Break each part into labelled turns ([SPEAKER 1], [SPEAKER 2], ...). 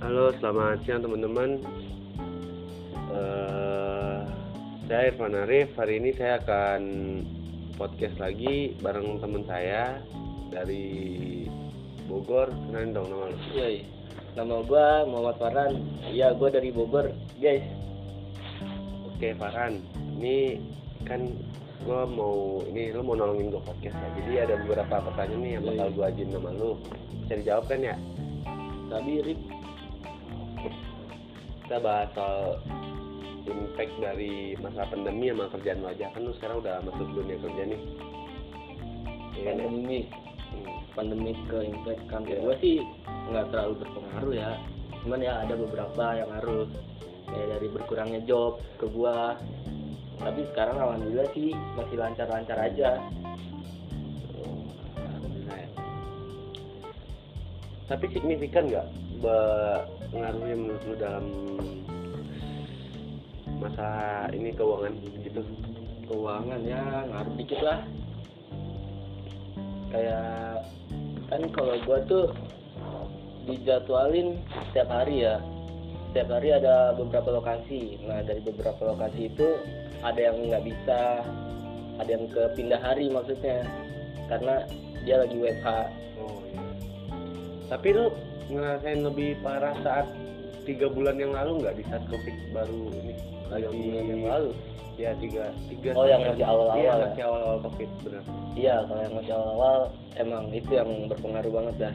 [SPEAKER 1] Halo, selamat siang teman-teman. Eh, saya Irfan Arif. Hari ini saya akan podcast lagi bareng teman saya dari Bogor. Kenalin dong nama lu.
[SPEAKER 2] Yoi. Iya, Nama gua Muhammad Farhan. Iya, gua dari Bogor, guys.
[SPEAKER 1] Oke, Farhan. Ini kan gue mau ini lu mau nolongin gue podcast ya. Jadi ada beberapa pertanyaan nih yang
[SPEAKER 2] Iya,
[SPEAKER 1] bakal gue ajuin sama lu. Bisa dijawab kan ya?
[SPEAKER 2] Tapi Rip,
[SPEAKER 1] Kita bahas soal impact dari masalah pandemi sama kerjaan lu aja. Kan lu sekarang udah masuk dunia kerja nih. Iya kan ya?
[SPEAKER 2] pandemi,
[SPEAKER 1] Hmm.
[SPEAKER 2] pandemi ke impact kantor
[SPEAKER 1] Iya.
[SPEAKER 2] gua sih nggak terlalu berpengaruh ya. Cuman ya ada beberapa yang harus kayak dari berkurangnya job ke gua. Tapi sekarang alhamdulillah sih masih lancar-lancar aja.
[SPEAKER 1] Alhamdulillah ya. Tapi signifikan nggak pengaruhnya menurut lu dalam masalah ini keuangan gitu?
[SPEAKER 2] Keuangan ya ngaruh dikit lah. Kayak kan kalau gua tuh dijadwalin setiap hari ya setiap hari ada beberapa lokasi nah dari beberapa lokasi itu ada yang nggak bisa ada yang ke pindah hari maksudnya karena dia lagi WFH
[SPEAKER 1] Oh iya. Tapi lu ngerasain lebih parah saat tiga bulan yang lalu nggak di saat covid baru ini
[SPEAKER 2] tiga
[SPEAKER 1] lagi
[SPEAKER 2] bulan yang lalu
[SPEAKER 1] ya tiga tiga
[SPEAKER 2] Oh, yang masih awal-awal
[SPEAKER 1] iya
[SPEAKER 2] ya?
[SPEAKER 1] masih awal awal covid benar
[SPEAKER 2] iya kalau yang masih awal-awal emang itu yang berpengaruh banget dah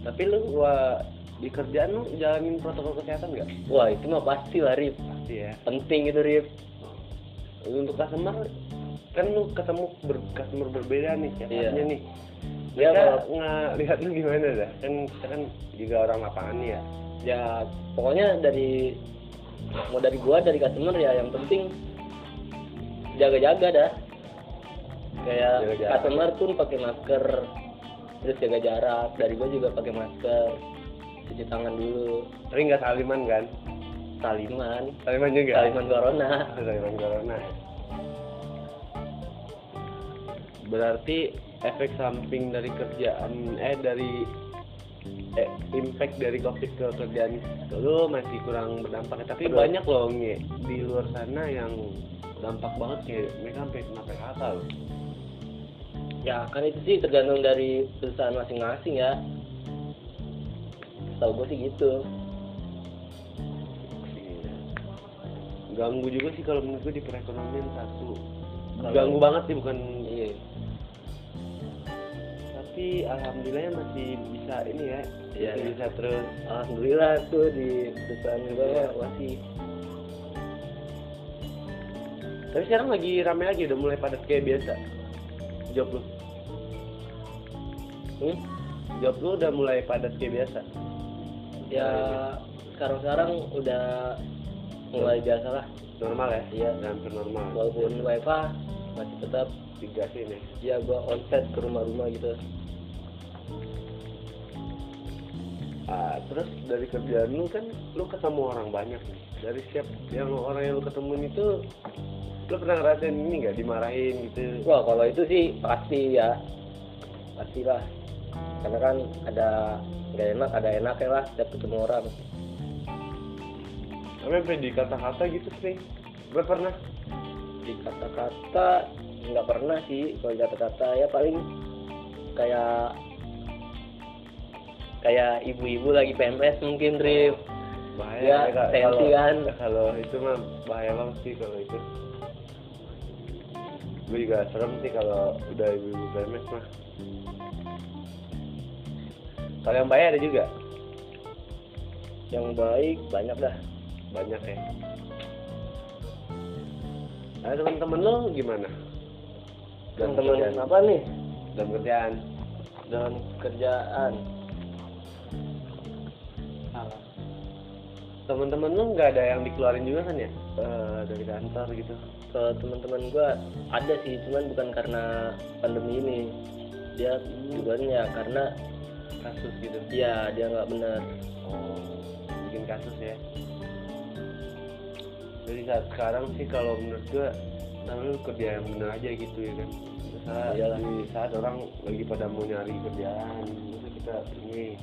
[SPEAKER 1] tapi lu gua di kerjaan lu jalanin protokol kesehatan nggak
[SPEAKER 2] wah itu mah pasti lah Rif
[SPEAKER 1] pasti ya
[SPEAKER 2] penting itu Rif
[SPEAKER 1] Lu untuk customer kan lu ketemu ber- customer berbeda nih ya
[SPEAKER 2] Iya.
[SPEAKER 1] artinya nih
[SPEAKER 2] Iya,
[SPEAKER 1] mereka
[SPEAKER 2] kalau-
[SPEAKER 1] ngelihat lu gimana dah kan kita kan juga orang lapangan nih ya
[SPEAKER 2] ya pokoknya dari mau dari gua dari customer ya yang penting jaga-jaga dah kayak
[SPEAKER 1] Jaga jarak.
[SPEAKER 2] customer pun pakai masker terus jaga jarak dari gua juga pakai masker cuci tangan dulu
[SPEAKER 1] tapi nggak saliman kan
[SPEAKER 2] saliman
[SPEAKER 1] saliman juga
[SPEAKER 2] saliman corona
[SPEAKER 1] saliman corona ya. berarti efek samping dari kerjaan eh dari eh, impact dari covid ke kerjaan lu masih kurang berdampak tapi
[SPEAKER 2] Betul.
[SPEAKER 1] banyak loh Nge, di luar sana yang dampak banget kayak mereka sampai kena PHK loh
[SPEAKER 2] ya kan itu sih tergantung dari perusahaan masing-masing ya tau gua sih gitu
[SPEAKER 1] Iya. ganggu juga sih kalau menurut gue di perekonomian satu
[SPEAKER 2] Kalau-
[SPEAKER 1] ganggu banget sih bukan
[SPEAKER 2] iya
[SPEAKER 1] tapi alhamdulillahnya masih bisa ini ya
[SPEAKER 2] Iya,
[SPEAKER 1] masih
[SPEAKER 2] iya.
[SPEAKER 1] bisa terus
[SPEAKER 2] alhamdulillah tuh di perusahaan gua masih
[SPEAKER 1] tapi sekarang lagi rame lagi udah mulai padat kayak biasa job lu
[SPEAKER 2] hmm?
[SPEAKER 1] job lu udah mulai padat kayak biasa
[SPEAKER 2] ya sekarang-sekarang udah mulai biasa lah
[SPEAKER 1] normal ya
[SPEAKER 2] Iya.
[SPEAKER 1] Udah hampir normal
[SPEAKER 2] walaupun wifi masih tetap
[SPEAKER 1] tiga sih nih
[SPEAKER 2] ya gua onset ke rumah-rumah gitu
[SPEAKER 1] Ah, terus dari kerjaan lu kan lu ketemu orang banyak nih dari setiap yang orang yang lu ketemuin itu lu pernah ngerasain ini nggak dimarahin gitu
[SPEAKER 2] wah kalau itu sih pasti ya pastilah karena kan ada nggak enak ada enaknya lah setiap ketemu orang
[SPEAKER 1] tapi sampai di kata-kata gitu sih gue pernah
[SPEAKER 2] di kata-kata nggak pernah sih kalau di kata-kata ya paling kayak kayak ibu-ibu lagi PMS mungkin Drift
[SPEAKER 1] bahaya
[SPEAKER 2] Iya,
[SPEAKER 1] Kak.
[SPEAKER 2] sensi
[SPEAKER 1] Kalau-
[SPEAKER 2] kan.
[SPEAKER 1] kalau itu mah bahaya banget sih kalau itu gue juga serem sih kalau udah ibu-ibu PMS mah kalau yang bahaya ada juga
[SPEAKER 2] yang baik banyak dah
[SPEAKER 1] banyak ya nah teman-teman lo gimana dalam kerjaan
[SPEAKER 2] teman-teman apa nih
[SPEAKER 1] dalam kerjaan
[SPEAKER 2] dalam kerjaan
[SPEAKER 1] teman-teman lo nggak ada yang dikeluarin juga kan ya Eh, dari kantor gitu
[SPEAKER 2] ke teman-teman gua ada sih cuman bukan karena pandemi ini dia tujuannya karena
[SPEAKER 1] kasus gitu
[SPEAKER 2] ya dia nggak benar
[SPEAKER 1] Oh, bikin kasus ya. Jadi saat sekarang sih kalau menurut gua, nah lu kerja yang bener aja gitu ya kan. Misalnya
[SPEAKER 2] Iyalah.
[SPEAKER 1] di saat orang lagi pada mau nyari kerjaan, masa kita ini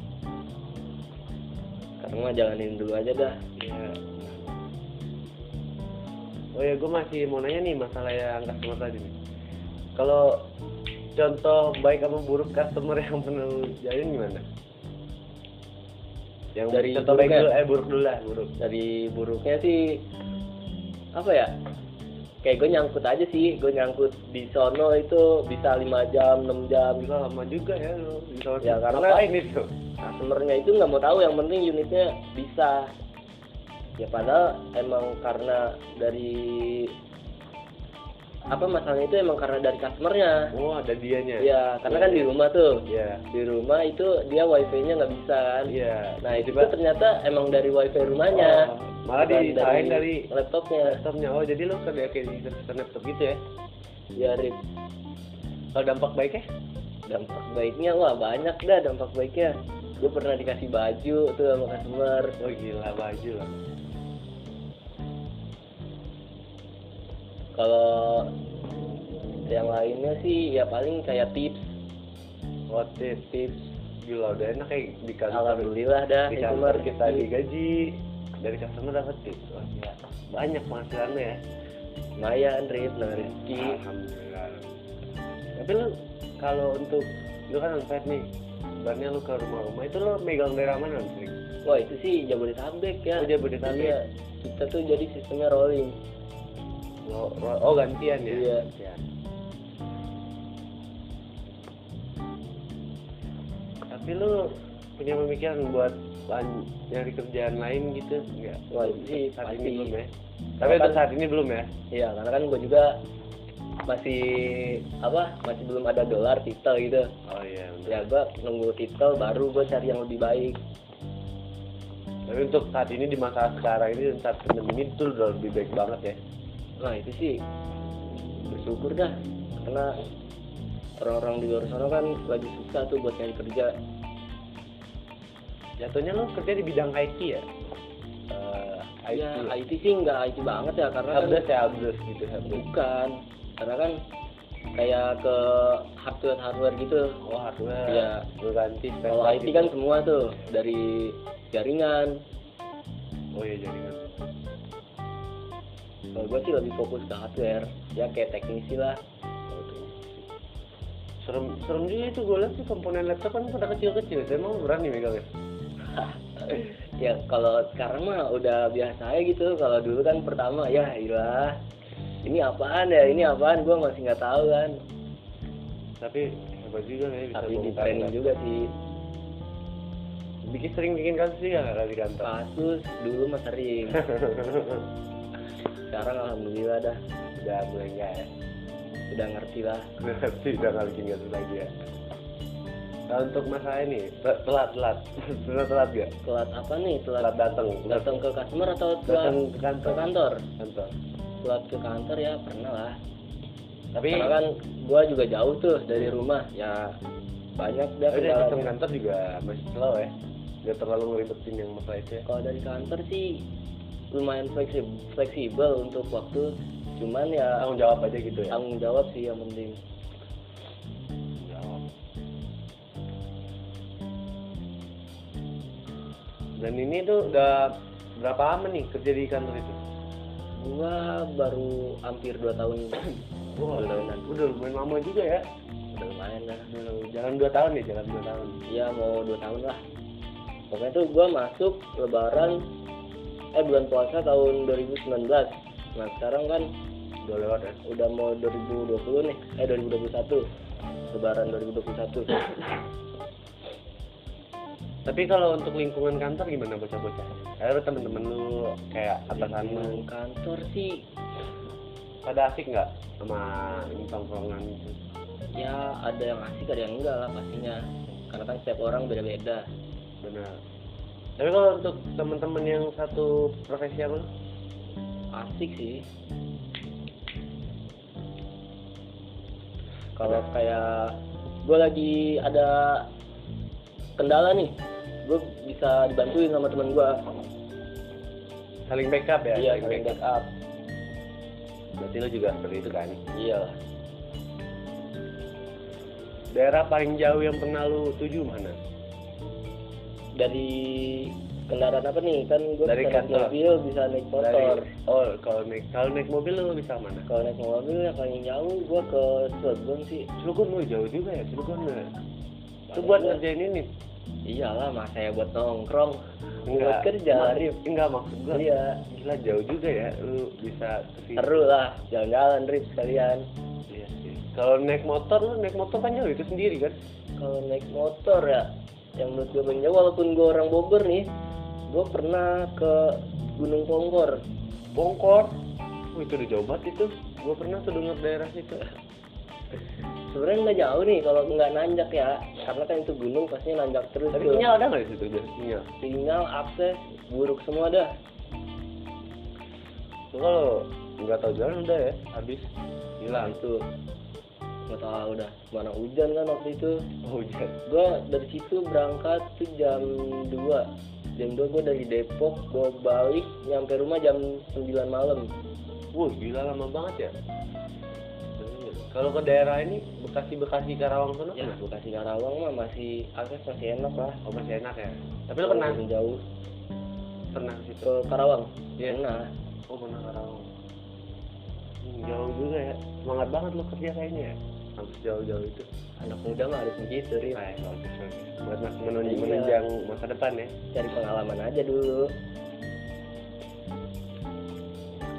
[SPEAKER 2] Sekarang mah jalanin dulu aja dah.
[SPEAKER 1] ya. Oh ya, gue masih mau nanya nih masalah yang customer tadi. nih. Kalau contoh baik sama buruk customer yang pernah lu jalin gimana? Yang
[SPEAKER 2] Dari
[SPEAKER 1] contoh baik
[SPEAKER 2] buruknya?
[SPEAKER 1] dulu, eh buruk dulu lah, buruk.
[SPEAKER 2] Dari buruknya sih apa ya? Kayak gue nyangkut aja sih, gue nyangkut di sono itu bisa lima jam, 6 jam.
[SPEAKER 1] Gila lama juga ya lu. Bisa
[SPEAKER 2] Ya, karena-
[SPEAKER 1] lain itu.
[SPEAKER 2] Customernya itu nggak mau tahu, yang penting unitnya bisa. Ya padahal emang karena dari apa masalahnya itu emang karena dari customernya.
[SPEAKER 1] Oh, ada dianya.
[SPEAKER 2] Ya, karena kan di rumah tuh.
[SPEAKER 1] Iya.
[SPEAKER 2] Di rumah itu dia wifi-nya nggak bisa kan.
[SPEAKER 1] Iya.
[SPEAKER 2] Nah, itu
[SPEAKER 1] Tiba-
[SPEAKER 2] ternyata emang dari wifi rumahnya.
[SPEAKER 1] Oh, malah
[SPEAKER 2] Bukan
[SPEAKER 1] disalahin dari
[SPEAKER 2] laptopnya.
[SPEAKER 1] laptopnya oh jadi lo kerja kayak di depan laptop gitu ya
[SPEAKER 2] Ya, Rip.
[SPEAKER 1] kalau dampak baiknya
[SPEAKER 2] Dampak baiknya wah banyak dah dampak baiknya. Gue pernah dikasih baju tuh sama customer.
[SPEAKER 1] oh gila baju lah
[SPEAKER 2] Kalau yang lainnya sih ya paling kayak tips.
[SPEAKER 1] oh tips tips gila udah enak kayak di kantor
[SPEAKER 2] Alhamdulillah dah
[SPEAKER 1] di
[SPEAKER 2] itu
[SPEAKER 1] kantor
[SPEAKER 2] Mar.
[SPEAKER 1] kita digaji dari customer dapat tips wah gila banyak penghasilannya ya
[SPEAKER 2] Lumayan, Rip, nah, rezeki.
[SPEAKER 1] alhamdulillah tapi lo kalau untuk lo kan unfair nih sebenarnya lo ke rumah-rumah itu lo megang daerah mana lo sering
[SPEAKER 2] Wah, itu sih Jabodetabek
[SPEAKER 1] lo
[SPEAKER 2] ya.
[SPEAKER 1] Oh, jabodetabek
[SPEAKER 2] Iya, kita tuh jadi sistemnya rolling.
[SPEAKER 1] Lo- ro- oh gantian ya?
[SPEAKER 2] Iya.
[SPEAKER 1] Gantian. Tapi lu punya pemikiran buat lan- nyari kerjaan lain gitu enggak?
[SPEAKER 2] Wah, itu sih
[SPEAKER 1] saat
[SPEAKER 2] pasti.
[SPEAKER 1] ini belum ya. Tapi untuk saat ini belum ya.
[SPEAKER 2] Iya, karena kan gue juga masih apa masih belum ada dolar titel gitu
[SPEAKER 1] Oh iya. benar.
[SPEAKER 2] ya gue nunggu titel baru gue cari yang lebih baik
[SPEAKER 1] Tapi untuk saat ini di masa sekarang ini dan saat pandemi ini tuh udah lebih baik banget ya.
[SPEAKER 2] nah itu sih bersyukur dah karena orang-orang di luar sana kan lagi susah tuh buat nyari kerja
[SPEAKER 1] Jatuhnya lu kerja di bidang IT ya? Eh, IT.
[SPEAKER 2] ya IT sih nggak IT banget ya karena kan
[SPEAKER 1] Helpdesk ya helpdesk gitu helpdesk.
[SPEAKER 2] bukan karena kan kayak ke hardware hardware gitu
[SPEAKER 1] Oh hardware.
[SPEAKER 2] Iya.
[SPEAKER 1] Lu ganti
[SPEAKER 2] kalau
[SPEAKER 1] spesial
[SPEAKER 2] IT
[SPEAKER 1] gitu.
[SPEAKER 2] kan semua tuh dari jaringan
[SPEAKER 1] Oh iya jaringan.
[SPEAKER 2] kalau gue sih lebih fokus ke hardware ya kayak teknisi lah
[SPEAKER 1] Serem, serem juga itu gue lihat tuh komponen laptop kan pada kecil-kecil, saya emang berani megangnya.
[SPEAKER 2] ya kalau sekarang mah udah biasa aja gitu kalau dulu kan pertama ya ilah ini apaan ya ini apaan gue masih nggak tahu kan
[SPEAKER 1] Tapi hebat juga ya bisa
[SPEAKER 2] tapi di
[SPEAKER 1] bongkar
[SPEAKER 2] training
[SPEAKER 1] laptop.
[SPEAKER 2] juga sih
[SPEAKER 1] Bikin sering bikin kasus juga nggak di kantor.
[SPEAKER 2] kasus dulu mah sering sekarang alhamdulillah dah
[SPEAKER 1] udah mulai enggak ya.
[SPEAKER 2] udah ngerti lah
[SPEAKER 1] Berarti udah nggak bikin kasus lagi ya. Nah untuk masalah ini te- telat telat pernah telat gak?
[SPEAKER 2] telat apa nih telat
[SPEAKER 1] Telat datang, telat
[SPEAKER 2] datang ke customer atau telat
[SPEAKER 1] datang ke
[SPEAKER 2] ke
[SPEAKER 1] kantor.
[SPEAKER 2] kantor
[SPEAKER 1] Kantor.
[SPEAKER 2] telat ke kantor ya pernah lah
[SPEAKER 1] Tapi
[SPEAKER 2] karena kan gue juga jauh tuh dari rumah ya banyak dah
[SPEAKER 1] tapi datang
[SPEAKER 2] kendalanya.
[SPEAKER 1] kantor juga masih slow ya. Gak terlalu ngeribetin yang masalah itu ya.
[SPEAKER 2] Kalau dari kantor sih lumayan fleksibel, fleksibel untuk waktu, cuman ya
[SPEAKER 1] Tanggung jawab aja gitu ya.
[SPEAKER 2] tanggung jawab sih yang penting.
[SPEAKER 1] Dan ini tuh udah berapa lama nih kerja di kantor itu?
[SPEAKER 2] Gua baru hampir 2 tahun,
[SPEAKER 1] Wah,
[SPEAKER 2] Bulanan.
[SPEAKER 1] udah lumayan lama juga ya.
[SPEAKER 2] udah lumayan lah.
[SPEAKER 1] Jalan 2 tahun ya, jalan 2 tahun.
[SPEAKER 2] Ya mau 2 tahun lah. Pokoknya tuh gua masuk Lebaran, eh bulan puasa tahun 2019. Nah sekarang kan
[SPEAKER 1] Udah lewat ya.
[SPEAKER 2] udah mau 2020 nih, eh 2021, Lebaran 2021.
[SPEAKER 1] Tapi kalau untuk lingkungan kantor gimana bocah-bocah? Ada temen-temen lu kayak atasan lu
[SPEAKER 2] Lingkungan kantor sih
[SPEAKER 1] pada asik nggak sama ini tongkrongan itu?
[SPEAKER 2] ya ada yang asik ada yang enggak lah pastinya karena kan setiap orang beda-beda
[SPEAKER 1] Benar. Tapi kalau untuk temen-temen yang satu profesi apa? lu?
[SPEAKER 2] asik sih kalau kayak gue lagi ada kendala nih gue bisa dibantuin sama teman gue
[SPEAKER 1] Saling backup ya?
[SPEAKER 2] iya saling backup
[SPEAKER 1] Berarti lu juga seperti itu kan?
[SPEAKER 2] iya lah
[SPEAKER 1] Daerah paling jauh yang pernah lu tuju mana?
[SPEAKER 2] dari kendaraan apa nih kan gue
[SPEAKER 1] Dari
[SPEAKER 2] bisa naik
[SPEAKER 1] kantor.
[SPEAKER 2] mobil bisa naik motor
[SPEAKER 1] Dari- oh, kalau naik kalau naik mobil lu bisa mana?
[SPEAKER 2] kalau naik mobil yang paling jauh gue ke Cilegon sih
[SPEAKER 1] Cilegon lu jauh juga ya, Cilegon lu. ya? Itu
[SPEAKER 2] Paling
[SPEAKER 1] buat
[SPEAKER 2] jauh.
[SPEAKER 1] ngerjain ini.
[SPEAKER 2] iyalah mas saya buat nongkrong
[SPEAKER 1] ya Enggak.
[SPEAKER 2] buat kerja
[SPEAKER 1] Arif, enggak maksud gua.
[SPEAKER 2] iya
[SPEAKER 1] Gila jauh juga ya lu bisa ke sini.
[SPEAKER 2] seru lah jalan-jalan trip sekalian
[SPEAKER 1] Iya sih. Kalau naik motor lu naik motor kan jauh itu sendiri kan?
[SPEAKER 2] kalau naik motor ya yang menurut gue paling jauh walaupun gue orang Bogor nih gue pernah ke Gunung Pongkor
[SPEAKER 1] Bongkor. Wih, itu udah jauh banget itu. Gua pernah tuh denger daerah situ.
[SPEAKER 2] sebenarnya nggak jauh nih kalau nggak nanjak ya karena kan itu gunung pastinya nanjak terus
[SPEAKER 1] Tapi
[SPEAKER 2] tuh.
[SPEAKER 1] sinyal ada nggak di situ? Ada Sinyal.
[SPEAKER 2] sinyal akses buruk semua dah
[SPEAKER 1] Lu kalau nggak tahu jalan udah ya, habis
[SPEAKER 2] Nah,
[SPEAKER 1] hilang.
[SPEAKER 2] itu nggak tahu udah mana hujan kan waktu itu
[SPEAKER 1] Oh, hujan.
[SPEAKER 2] gue dari situ berangkat tuh jam 2 jam 2 gue dari Depok gue balik nyampe rumah jam 9 malam
[SPEAKER 1] Wah, gila lama banget ya. Kalau ke daerah ini Bekasi Bekasi Karawang sana
[SPEAKER 2] ya
[SPEAKER 1] pernah?
[SPEAKER 2] Bekasi Karawang mah masih akses masih enak lah
[SPEAKER 1] Oh, masih enak ya. Tapi lu pernah
[SPEAKER 2] Walaupun jauh
[SPEAKER 1] pernah ke situ?
[SPEAKER 2] ke Karawang
[SPEAKER 1] Iya.
[SPEAKER 2] pernah
[SPEAKER 1] Oh, pernah Karawang. Hmm, jauh juga ya. Semangat banget lu kerja kayaknya ya. Harus jauh-jauh itu.
[SPEAKER 2] anak muda mah harus gitu, begitu Rin
[SPEAKER 1] Nah, bagus, bagus. Buat mas menunj- menunjang masa depan ya.
[SPEAKER 2] cari pengalaman aja dulu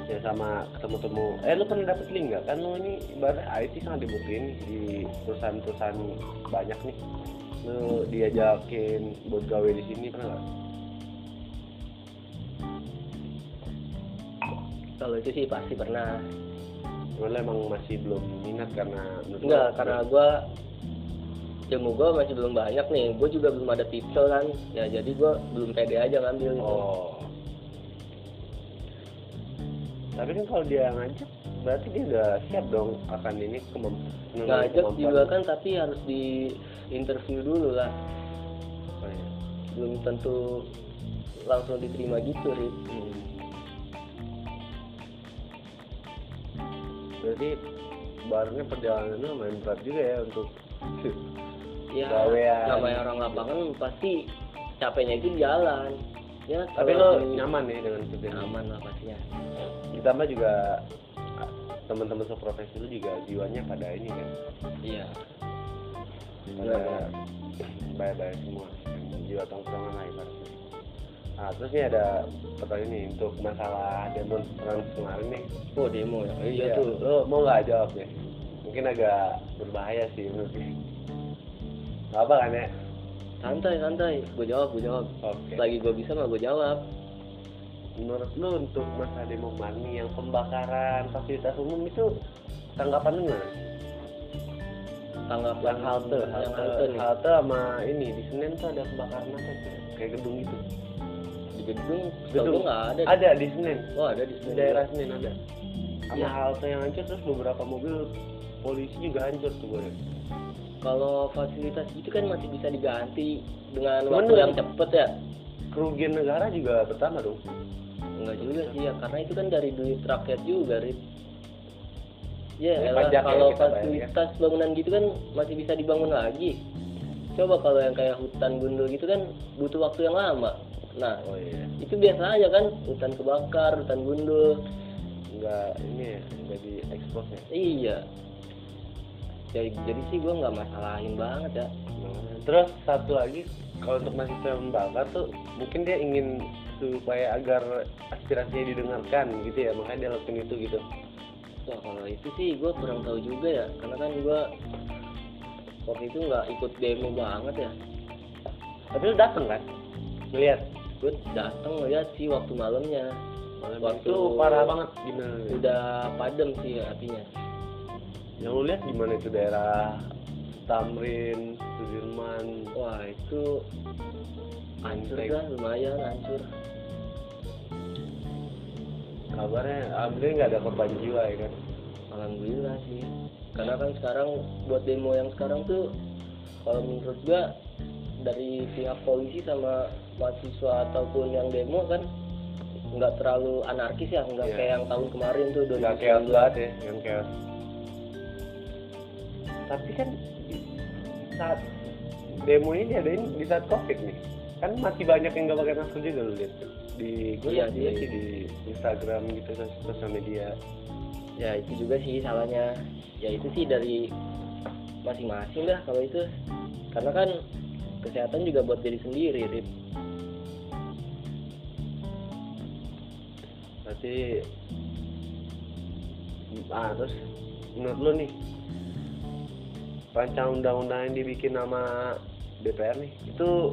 [SPEAKER 1] Ya sama ketemu-temu. Eh lu pernah dapet link nggak? Kan lu ini ibarat IT sangat dibutuhin di perusahaan-perusahaan banyak nih. Lu diajakin buat gawe di sini pernah nggak?
[SPEAKER 2] kalau itu sih pasti pernah
[SPEAKER 1] Cuman lu emang masih belum minat karena menurut lu-
[SPEAKER 2] enggak karena gue ilmu gue masih belum banyak nih gue juga belum ada titel kan ya jadi gue belum pede aja ngambil gitu.
[SPEAKER 1] Oh. Tapi kan kalau dia ngajak berarti dia udah siap dong akan ini kemamp- mengenai
[SPEAKER 2] ngajak
[SPEAKER 1] kemampuan.
[SPEAKER 2] juga kan tapi harus di interview dulu lah
[SPEAKER 1] Oh, iya.
[SPEAKER 2] belum tentu langsung diterima gitu Rit.
[SPEAKER 1] Hmm. Berarti barangnya perjalanannya main berat juga ya untuk
[SPEAKER 2] ya
[SPEAKER 1] Gawean.
[SPEAKER 2] namanya orang lapangan pasti capeknya itu di jalan ya
[SPEAKER 1] Tapi lo
[SPEAKER 2] kalau di-
[SPEAKER 1] nyaman ya dengan kerjaan ini?
[SPEAKER 2] aman lah pastinya
[SPEAKER 1] Ditambah juga ah, teman-teman seprofesi lu juga jiwanya pada ini kan
[SPEAKER 2] iya
[SPEAKER 1] pada bayar-bayar semua jiwa tongkrongan lah ibaratnya nah terus nih ada pertanyaan nih untuk masalah demonstran kemarin nih
[SPEAKER 2] oh demo ya iya,
[SPEAKER 1] Iya,
[SPEAKER 2] tuh
[SPEAKER 1] Lo mau nggak jawab ya? Mungkin agak berbahaya sih menurut gue. Gak apa kan ya?
[SPEAKER 2] santai santai gue jawab gue jawab
[SPEAKER 1] Oke.
[SPEAKER 2] lagi gue bisa mah gue jawab
[SPEAKER 1] Menurut lo untuk masa demo mani yang pembakaran fasilitas umum itu tanggapan lu gimana?
[SPEAKER 2] tanggapan
[SPEAKER 1] Yang halte,
[SPEAKER 2] yang
[SPEAKER 1] halte,
[SPEAKER 2] halte nih
[SPEAKER 1] halte sama ini di Senen tuh ada kebakaran apa itu? Kayak gedung gitu.
[SPEAKER 2] di gedung
[SPEAKER 1] Gedung.
[SPEAKER 2] gedung nggak ada
[SPEAKER 1] Ada di Senen,
[SPEAKER 2] oh ada di
[SPEAKER 1] di
[SPEAKER 2] sini
[SPEAKER 1] daerah Senen ada. Sama
[SPEAKER 2] Iya.
[SPEAKER 1] halte yang hancur terus beberapa mobil polisi juga hancur tuh gue.
[SPEAKER 2] kalau fasilitas itu kan masih bisa diganti dengan
[SPEAKER 1] Cuman
[SPEAKER 2] waktu
[SPEAKER 1] dengan-
[SPEAKER 2] yang cepet ya
[SPEAKER 1] Kerugian negara juga bertambah dong.
[SPEAKER 2] enggak juga sih ya karena itu kan dari duit rakyat juga Rit
[SPEAKER 1] Dari
[SPEAKER 2] ya elah,
[SPEAKER 1] pajak ya
[SPEAKER 2] kalau
[SPEAKER 1] kita bayar,
[SPEAKER 2] fasilitas bangunan gitu kan masih bisa dibangun lagi coba kalau yang kayak hutan gundul gitu kan butuh waktu yang lama nah
[SPEAKER 1] Oh iya.
[SPEAKER 2] itu biasa aja kan hutan kebakar hutan gundul
[SPEAKER 1] nggak ini ya nggak di expose ya
[SPEAKER 2] iya jadi, jadi sih gue nggak masalahin banget ya
[SPEAKER 1] terus satu lagi kalau untuk mahasiswa yang membakar tuh mungkin dia ingin supaya agar aspirasinya didengarkan gitu ya makanya dia lakuin itu gitu
[SPEAKER 2] Wah kalau itu sih gue kurang tahu juga ya karena kan gue waktu itu nggak ikut demo banget ya
[SPEAKER 1] tapi lu dateng kan ngeliat
[SPEAKER 2] gue datang ngeliat ya sih waktu malamnya Waktu-
[SPEAKER 1] itu parah banget gimana lu?
[SPEAKER 2] udah padam sih apinya
[SPEAKER 1] yang lu lihat gimana itu daerah Tamrin Sudirman
[SPEAKER 2] wah itu hancur
[SPEAKER 1] Menteng.
[SPEAKER 2] kan lumayan hancur
[SPEAKER 1] kabarnya alhamdulillah nggak ada korban jiwa ya kan
[SPEAKER 2] alhamdulillah sih karena kan sekarang buat demo yang sekarang tuh kalau menurut gue dari pihak polisi sama mahasiswa ataupun yang demo kan nggak terlalu anarkis ya nggak
[SPEAKER 1] Iya.
[SPEAKER 2] kayak yang tahun kemarin tuh
[SPEAKER 1] nggak
[SPEAKER 2] 2019.
[SPEAKER 1] chaos banget ya yang chaos tapi kan saat demo ini diadain di saat covid nih kan masih banyak yang nggak pakai masker juga lu lihat tuh. di gue
[SPEAKER 2] Iya,
[SPEAKER 1] lihat
[SPEAKER 2] iya.
[SPEAKER 1] sih di Instagram gitu sos- sosial media
[SPEAKER 2] ya itu juga sih salahnya ya itu sih dari masing-masing lah kalau itu karena kan kesehatan juga buat diri sendiri Rip.
[SPEAKER 1] berarti ah terus menurut lu nih rancang undang-undang yang dibikin sama DPR nih itu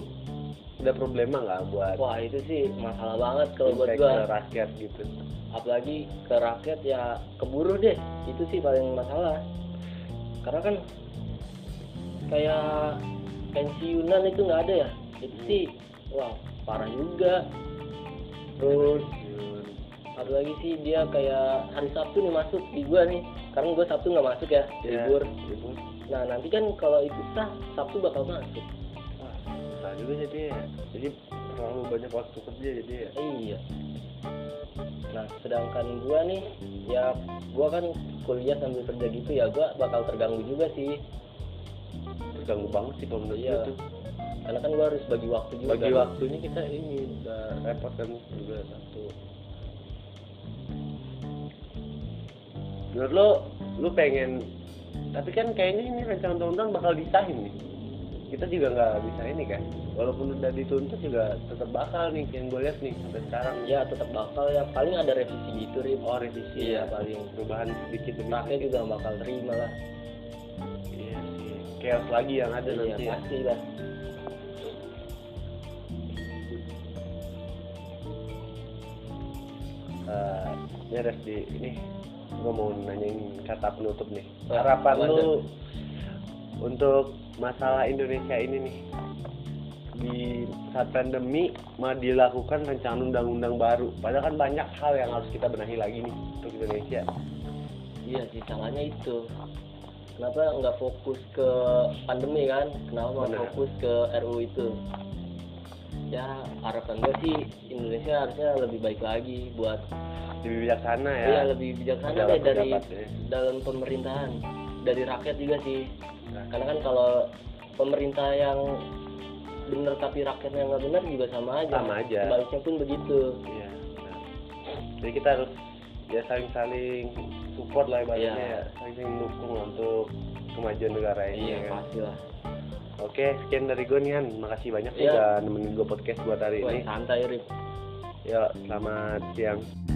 [SPEAKER 1] udah problema nggak buat
[SPEAKER 2] wah itu sih masalah banget kalau buat
[SPEAKER 1] impact
[SPEAKER 2] gua
[SPEAKER 1] ke rakyat gitu
[SPEAKER 2] apalagi ke rakyat ya keburu deh itu sih paling masalah karena kan kayak pensiunan itu nggak ada ya itu sih wah parah juga terus apalagi sih dia kayak hari Sabtu nih masuk di gua nih karena gua Sabtu nggak masuk ya
[SPEAKER 1] Ya,
[SPEAKER 2] libur
[SPEAKER 1] libur
[SPEAKER 2] nah nanti kan kalau itu sah Sabtu bakal masuk
[SPEAKER 1] Nah juga jadi ya. Jadi terlalu banyak waktu kerja jadi ya.
[SPEAKER 2] Iya. Nah, sedangkan gua nih, ya gua kan kuliah sambil kerja gitu ya, gua bakal terganggu juga sih.
[SPEAKER 1] Terganggu banget sih kalau menurut
[SPEAKER 2] Iya.
[SPEAKER 1] gue tuh.
[SPEAKER 2] Karena kan gua harus bagi waktu juga.
[SPEAKER 1] Bagi
[SPEAKER 2] kan.
[SPEAKER 1] waktunya kita ini udah repot kan juga satu. Menurut lo, lo pengen tapi kan kayaknya ini rencana undang-undang bakal disahin nih. Kita juga nggak bisa ini kan. Walaupun udah dituntut juga tetap bakal nih yang gue lihat nih sampai sekarang.
[SPEAKER 2] Ya tetap bakal ya paling ada revisi gitu, Rip.
[SPEAKER 1] Oh revisi ya
[SPEAKER 2] Iya.
[SPEAKER 1] paling perubahan sedikit demi
[SPEAKER 2] Rakyat juga bakal terima lah.
[SPEAKER 1] Iya sih. Chaos lagi yang ada
[SPEAKER 2] Iya,
[SPEAKER 1] nanti. Ya.
[SPEAKER 2] pasti lah.
[SPEAKER 1] Eh, ini harus di ini gue mau nanyain kata penutup nih
[SPEAKER 2] Ah,
[SPEAKER 1] harapan
[SPEAKER 2] gimana?
[SPEAKER 1] lu untuk masalah Indonesia ini nih di saat pandemi mah dilakukan rencana undang-undang baru padahal kan banyak hal yang harus kita benahi lagi nih untuk Indonesia
[SPEAKER 2] Iya sih, salahnya itu. Kenapa nggak fokus ke pandemi kan? Kenapa nggak
[SPEAKER 1] Benar.
[SPEAKER 2] fokus ke RU itu? Ya harapan gue sih Indonesia harusnya lebih baik lagi buat
[SPEAKER 1] lebih bijaksana ya
[SPEAKER 2] Iya lebih bijaksana deh dari
[SPEAKER 1] Pejabat-pejabat ya.
[SPEAKER 2] dalam pemerintahan, dari rakyat juga sih.
[SPEAKER 1] Nah,
[SPEAKER 2] Karena kan kalau pemerintah yang benar tapi rakyatnya nggak benar juga sama aja.
[SPEAKER 1] Sama aja.
[SPEAKER 2] Sebaliknya pun begitu.
[SPEAKER 1] Iya, benar. Jadi kita harus ya saling-saling support lah ibaratnya
[SPEAKER 2] Iya.
[SPEAKER 1] ya, saling mendukung lah untuk kemajuan negara ini.
[SPEAKER 2] Iya,
[SPEAKER 1] ya kan?
[SPEAKER 2] pasti lah.
[SPEAKER 1] Oke, sekian dari gue nih, Han. Makasih banyak
[SPEAKER 2] Iya.
[SPEAKER 1] sudah nemenin gue podcast buat hari
[SPEAKER 2] Wah,
[SPEAKER 1] ini.
[SPEAKER 2] santai Rip.
[SPEAKER 1] Ya, selamat siang.